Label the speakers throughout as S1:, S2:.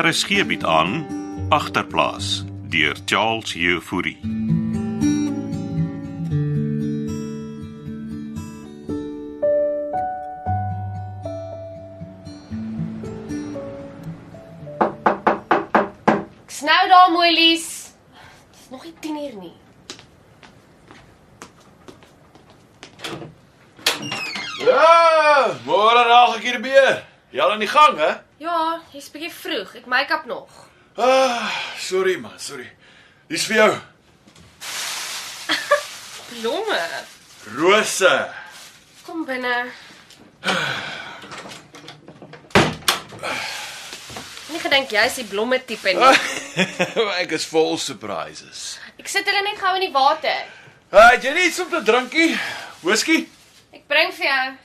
S1: RSG bied aan agterplaas deur Charles Jefouri.
S2: Ek snou daar mooi lies. Dis nog nie 10 uur nie.
S3: Ja, môre nog 'n keer beer. Jy al in die gang, hè?
S2: Ja, jy's bietjie vroeg. Ek make-up nog.
S3: Ah, sorry man, sorry. Dis vir jou.
S2: Blomme.
S3: Rose.
S2: Kom binne. Nie gedink jy's die blomme tipe
S3: Ah.
S2: nie.
S3: Ek is vol surprises.
S2: Ek sit hulle net gou in die water.
S3: Ah, het jy net iets om te drinkie? Whisky?
S2: Ek bring vir jou.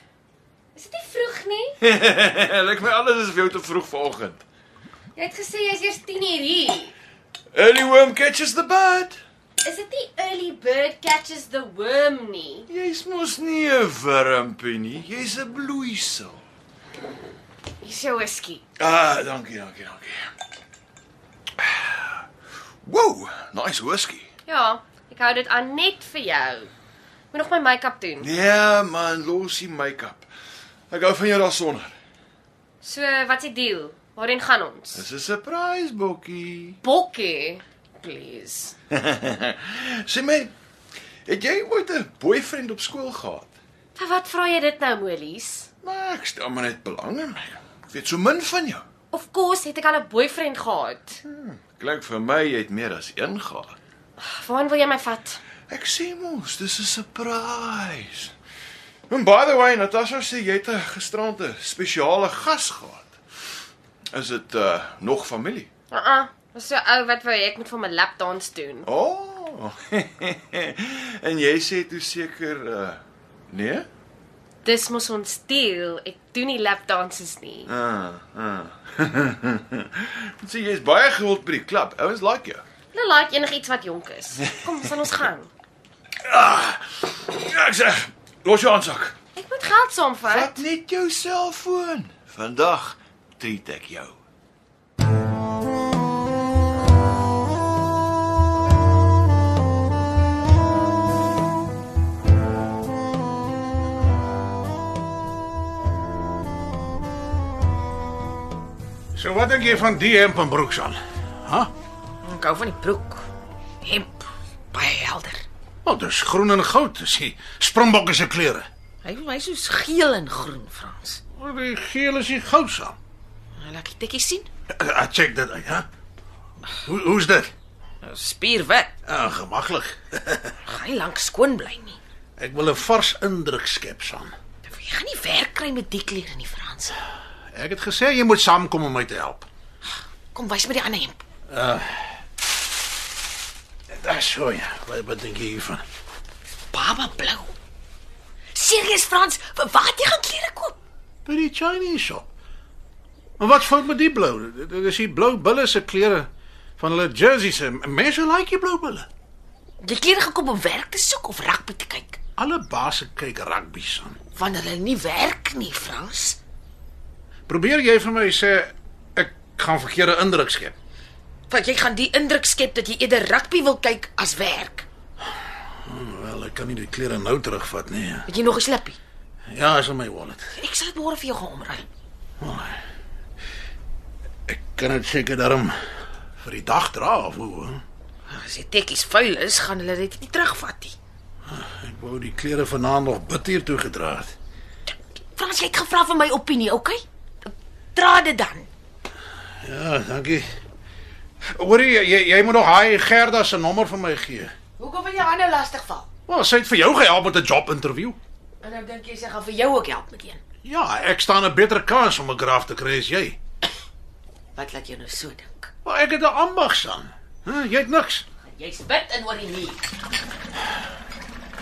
S2: Is dit nie vroeg nie?
S3: Lyk my alles is vir jou te vroeg vanoggend.
S2: Jy het gesê jy's eers 10 uur hier.
S3: Early worm catches the bird.
S2: Is dit nie early bird catches the worm nie?
S3: Jy's mos nie 'n wurmpie nie, jy's 'n bloeisel.
S2: Hier's jou whisky.
S3: Ah, dankie, dankie, dankie. Woew, nice whisky.
S2: Ja, ek hou dit aan net vir jou. Moet nog my make-up doen.
S3: Ja man, los die make-up. Ek hou van jou daarsonder.
S2: So, wat se deal? Waarheen gaan ons?
S3: Dis 'n surprise bokkie.
S2: Bokkie, please.
S3: Sê my, het jy ooit 'n boyfriend op skool gehad?
S2: Vir wat vra jy dit nou, Molies?
S3: Maar ek stel maar net belang in my. Ek weet so min van jou.
S2: Of course het ek al 'n boyfriend gehad.
S3: Klink vir my jy het meer as een gehad.
S2: Waarheen wil jy my vat?
S3: Ek sê mos, dis 'n surprise. En by the way, Natasha sê jy het 'n gisterand 'n spesiale gas gehad. Is dit uh nog familie?
S2: Uh-uh. Was so ou wat wou hê ek moet vir my lapdans doen.
S3: O. Oh. en jy sê toe seker uh nee?
S2: Dis mos ons deal. Ek doen nie lapdanses nie.
S3: Ah, ah. sê jy's baie gewild by die klub. Ouens like jou.
S2: Hulle like Nou enigiets wat jonk is. Kom, ons gaan ons gaan.
S3: Ja, ek sê, los jou aansak.
S2: Ek moet geld saamvat.
S3: Vat net jou selfoon. Vandag treat ek jou.
S4: So wat dink jy van die hemp en broek aan? Ha?
S2: Ek hou van die broek. Hemp. Baie helder.
S4: Wel, dis groen en goud, dis die Springbokke se kleure.
S5: Hy vir my soos geel en groen Frans.
S4: Maar die geel is die goud saam.
S5: Laat ek dit sien.
S4: Eh, Ek check dit uit, hè? Hoe hoe's dit?
S5: Spierwit.
S4: Ah, gemaklik.
S5: Gaan nie lank skoon bly nie.
S4: Ek wil 'n vars indruk skep saam.
S5: Jy gaan nie werk kry met die klere nie Frans.
S4: Ek het gesê jy moet saamkom om my te help.
S5: Kom wys my die ander hemp.
S4: Dis so ja. Wat wat dink jy hiervan?
S5: Baba blou. Serieus Frans, vir wat jy gaan klere koop?
S4: By die Chinese shop. Maar wat fout met die blou? Dit- Dit is die blou bulle se kleure van hulle jerseys. Mense like die blou bulle.
S5: Die klere gekoop om werk te soek of rugby te kyk.
S4: Alle baase kyk rugby saam.
S5: Want hulle nie werk nie Frans.
S4: Probeer jy vir my sê ek gaan verkeerde indruk skep?
S5: Want jy gaan die indruk skep dat jy eerder rugby wil kyk as werk.
S4: Wel, ek kan nie die klere nou terugvat nie.
S5: Het jy nog 'n slippie?
S4: Ja, is in my wallet.
S5: Ek sal dit môre vir jou gaan omruil.
S4: Ek kan dit seker daarom vir die dag dra of hoe. hè?
S5: As die tekkies vuil is, gaan hulle dit nie terugvat nie.
S4: Ek wou die klere vanaand nog bitter toe gedra het.
S5: Frans, jy het gevra vir my opinie, okay? Dra dit dan.
S4: Ja, dankie. Hoorie, jy jy moet nog hy Gerda se nommer vir my gee.
S5: Hoekom wil jy aanhou lastigval?
S4: Wel, sy het vir jou gehelp met 'n job interview.
S5: En nou dink jy sy gaan vir jou ook help met een.
S4: Ja, ek staan 'n beter kans om 'n graaf te kry as jy.
S5: Wat laat jou nou so dink?
S4: Maar ek het 'n ambag aan. Huh, jy het niks.
S5: Jy's wit en oor die muur.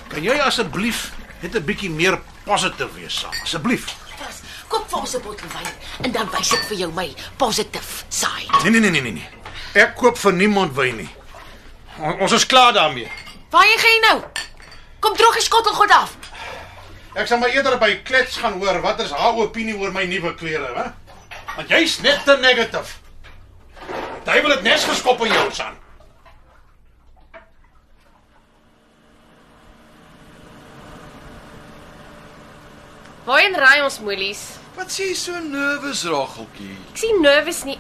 S4: Kan jy asseblief net 'n bietjie meer positief wees, Sam? Asseblief.
S5: Frans, koop vir ons 'n bottel wyn en dan wys ek vir jou my positief side.
S4: Nee nee nee nee nee, nee. Ek koop vir niemand wyn nie. On, ons is klaar daarmee.
S5: Waar jy gaan nou? Kom droog die skottel goed af.
S4: Ek sal maar eerder by Klets gaan hoor wat is haar opinie oor my nuwe klere, hè? Want jy's net te negatief. duiwel het nes geskop in jou son.
S2: Waarheen ry ons moelies?
S3: Wat sê jy so nervus, Rageltjie?
S2: Ek sien nervus nie.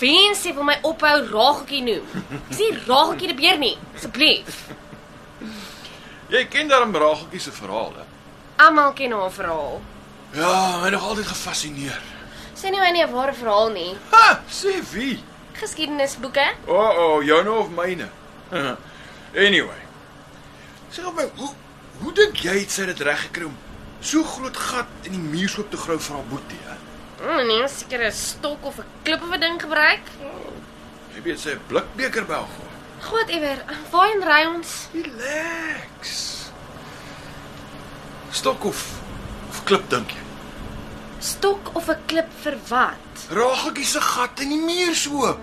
S2: Wens sê vir my ophou rageltjie noem. Ek sien rageltjie die beer nie, asseblief.
S3: Jy ken darm Rageltjie se verhale.
S2: Almal ken haar verhaal.
S3: Ja, my nog altyd gefassineer.
S2: Sy nie my nie 'n ware verhaal nie.
S3: Ha, sê wie?
S2: Geskiedenisboeke?
S3: O, oh, oh, joune of myne. anyway. Sê op my, hoe hoe dink jy het sy dit reg gekry om so groot gat in die muur skoop te grou vir haar boetie? Hè?
S2: Mm, nee, seker 'n stok of 'n klip of 'n ding gebruik.
S3: Jy weet sy het 'n blikbeker by haar gehad.
S2: God ewer, waarheen ry ons?
S3: Relax. Stok of of klip dink jy?
S2: Stok of 'n klip vir wat?
S3: Rageltjie se gat in die muur so.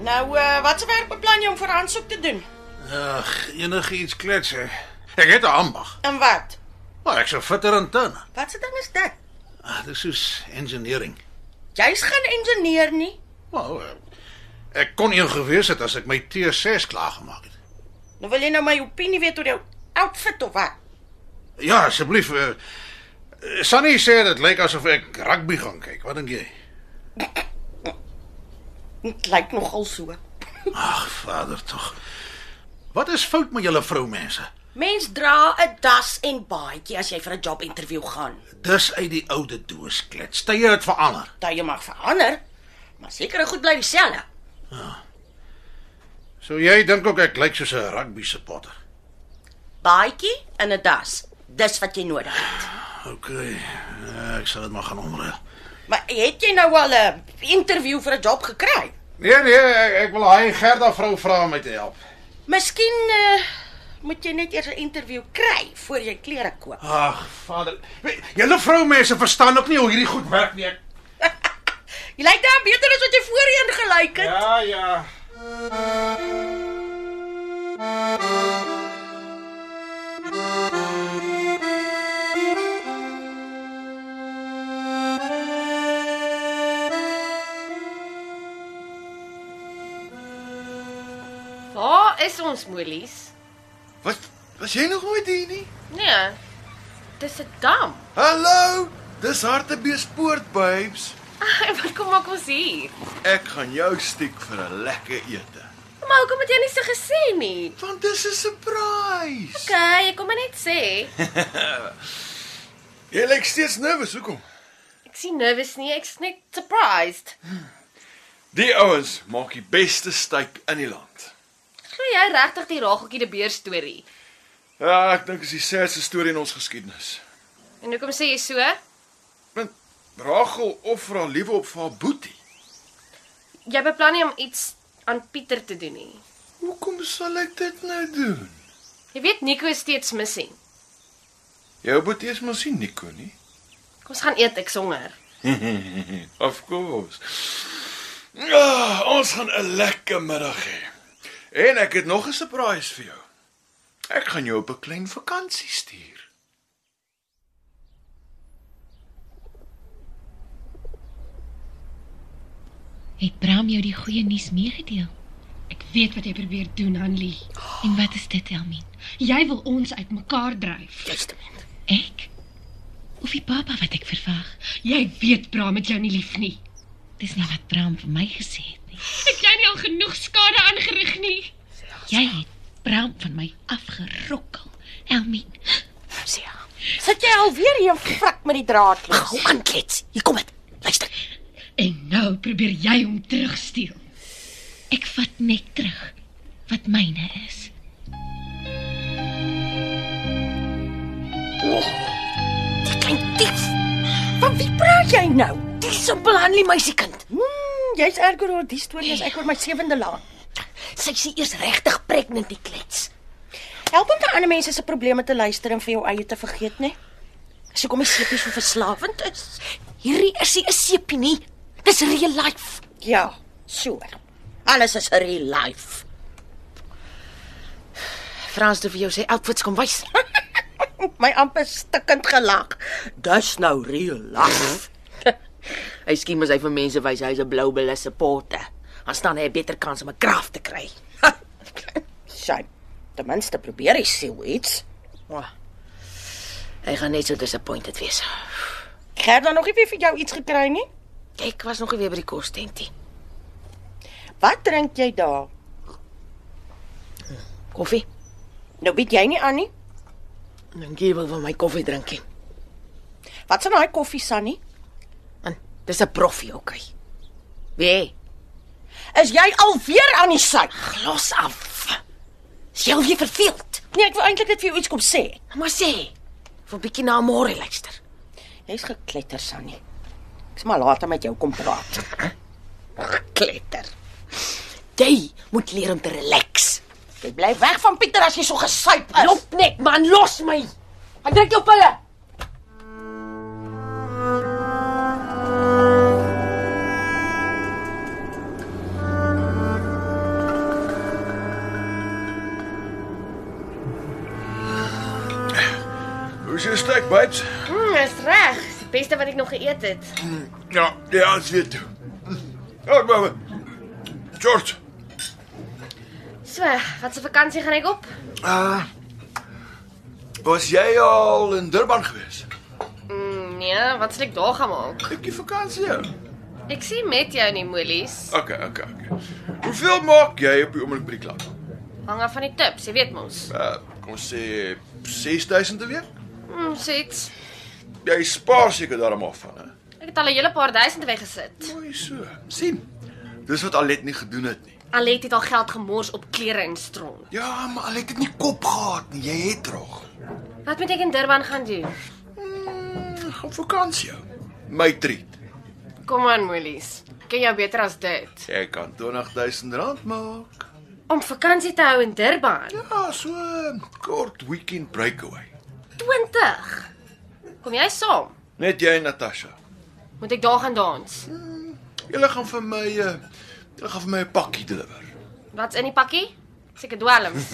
S5: Nou, uh, wat se werk beplan jy om vir aansoek te doen?
S4: Ag, enigiets klets hè. Ek het 'n ambag.
S5: En wat?
S4: Maar ek sou fitter en tan.
S5: Wat se ding is dit?
S4: Ag, dis soos engineering.
S5: Jy's geen ingenieur nie.
S4: Wel, eh, ek kon nie gewees het as ek my T6 klaar gemaak het.
S5: Nou wil jy nou my opinie weet oor jou outfit of wat?
S4: Ja, asseblief. eh, eh, Sunny sê dit lyk asof ek rugby gaan kyk. Wat dink jy?
S5: Dit lyk nogal so.
S4: Ag, vader tog. Wat is fout met julle vroumense?
S5: Mens dra 'n das en baadjie as jy vir 'n job onderhoud gaan.
S4: Dis uit die oude doos klets. Tye het verander.
S5: Daai mag verander, maar sekere goed bly dieselfde.
S4: So jy dink ook ek lyk soos 'n rugby supporter.
S5: Baadjie en 'n das. Dis wat jy nodig het.
S4: OK. eh, Ek sal dit maar gaan omruil.
S5: Maar het jy nou al 'n onderhoud vir 'n job gekry?
S4: Nee nee, ek, ek wil daai Gerda vrou vra om my te help.
S5: Miskien uh, moet jy net eers 'n onderhoud kry voor jy klere koop.
S4: Ag, vader. Weet, Julle vroumense verstaan ook nie hoe hierdie goed werk nie. Ek,
S5: Jy lyk dan beter as wat jy voorheen gelyk het.
S4: ja ja.
S2: Waar is ons moelies?
S3: Wat was jy nog nooit hier nie?
S2: Nee. Dis 'n dam.
S3: Hallo, dis Hartbeespoort, babes.
S2: Ai, wat kom maak ons hier?
S3: Ek gaan jou stiek vir 'n lekker ete.
S2: Maar hoekom het jy nie se gesê nie?
S3: Want dis 'n surprise.
S2: OK, jy kom maar net sê.
S3: Jy lyk steeds nervus, hoekom?
S2: Ek sien nervus nie, ek's net surprised.
S3: Die ouens maak die beste steak in die land.
S2: Glo jy regtig die rageltjie die beer storie?
S3: Ja, ek dink dis die saaiste storie in ons geskiedenis.
S2: En hoekom sê jy so?
S3: Want Rachel offer haar liewe op vir haar boetie.
S2: Jy beplan nie om iets aan Pieter te doen nie.
S3: Hoekom sal ek dit nou doen?
S2: Jy weet Nico is steeds missing.
S3: Jou boetie is mos nie Nico nie.
S2: Kom ons gaan eet, ek's honger.
S3: Of course. Ja, ons gaan 'n lekker middag hê. En ek het nog 'n surprise vir jou. Ek gaan jou op 'n klein vakansie stuur.
S6: Het Bram jou die goeie nuus meegedeel?
S7: Ek weet wat jy probeer doen, Hanlie.
S6: En wat is dit, Elmien?
S7: Jy wil ons uitmekaar dryf.
S6: Ek? Of die pappa wat ek verwag?
S7: Jy weet Bram het jou nie lief nie.
S6: Dis nie wat Bram vir my gesê het nie.
S7: Het jy nie al genoeg skade aangerig nie?
S6: Jy het Bram van my afgerokkel, Elmien.
S5: Sit jy alweer hier en frik met die draadloos? Gou aanklets. Hier kom dit. Luister.
S7: En nou probeer jy hom terugsteel.
S6: Ek vat net terug wat myne is.
S5: Die klein dief. Van wie praat jy nou?
S8: Die simpel handel meisiekind.
S5: Hmm, jy's erger oor die storie as ek oor my sewende laan.
S8: Sy sê eers regtig pregnant die klets.
S5: Help om te ander mense se probleme te luister en vir jou eie te vergeet, né?
S8: As jy kom die seepie so verslawend is. Hierdie is nie 'n seepie nie. Dis real life.
S5: Ja, so.
S8: Alles is real life.
S5: Frans toe vir jou sê outfits kom wys.
S8: My amper stikkend gelag. Dis nou real life.
S5: Hy skien mos hy vir mense wys hy's 'n blou bilis supporter. Dan staan hy 'n beter kans om 'n kraaf te kry.
S8: Sy. Ten minste probeer hy siel iets.
S5: Oh. Hy gaan net so disappointed wees.
S8: Gert dan nog nie weer vir jou iets gekry nie.
S5: Ek was nog nie weer by die kos tentie.
S8: Wat drink jy daar?
S5: Koffie.
S8: Nou weet jy nie aan nie.
S5: Dankie Nou, wil vir my koffie drinkie.
S8: Wat se daai koffie Sunny?
S5: Man, dis 'n profie, okay. Wie?
S8: Is jy alweer aan die sy?
S5: Los af. Is jy weer verveeld?
S8: Nee, ek wou eintlik net vir jou iets kom sê.
S5: Maar sê, vir 'n bietjie na môre luister.
S8: Jy's gekletter Sunny. Ek's maar later met jou kom praat.
S5: Kletter. Jy moet leer om te relax.
S8: Jy bly weg van Pieter as jy so gesyp is.
S5: Loop net man, los my. Ek drink jou pille.
S3: Hoe sien steek, babes?
S2: Mm, is reg. Dis die beste wat ek nog geëet het.
S3: Ja, ja, ons weet toe. Ja, maar George,
S2: So, wat se vakansie gaan ek op?
S3: was jy al in Durban gewees?
S2: Mm, nee, wat sal ek daar gaan maak?
S3: Ek het vakansie. ja.
S2: Ek sien met jou nie molies.
S3: Okay, okay, okay. Hoeveel maak jy op die oomblik by die klap?
S2: Hang af van die tips, jy weet mos.
S3: Uh, kom ons sê 6000 'n week.
S2: Mm, sits.
S3: Jy spaar seker daarom af van, hè?
S2: Ek het al 'n hele paar duisend weggesit.
S3: Mooi so. sien. Dis wat Alet nie gedoen het nie.
S2: Alet het al geld gemors op klere en stront.
S3: Ja, maar Alet het nie kop gehad nie. Jy het reg.
S2: Wat moet ek in Durban gaan doen?
S3: Hmm, Gaan vakansie. hou. My treat.
S2: Kom aan, molies. Ken jou beter as dit.
S3: Ek kan 20000 rand maak.
S2: Om vakansie te hou in Durban.
S3: Ja, so 'n kort weekend breakaway.
S2: 20. Kom jy saam?
S3: Net jy en Natasha.
S2: Moet ek daar gaan dans?
S3: Julle gaan vir my eh, julle gaan vir my 'n pakkie deliver.
S2: Wat's in die pakkie? Seker dwelms.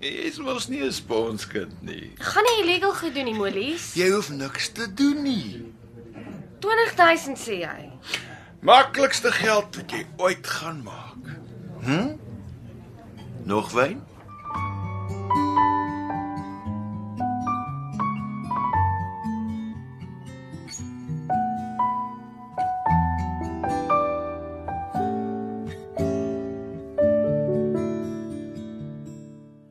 S3: Jy's mos nie 'n sponskind nie.
S2: Gaan nie illegal goed doen nie, molies.
S3: Jy hoef niks te doen nie.
S2: 20000 sê jy.
S3: Maklikste geld wat jy ooit gaan maak. Hm? Nog wyn?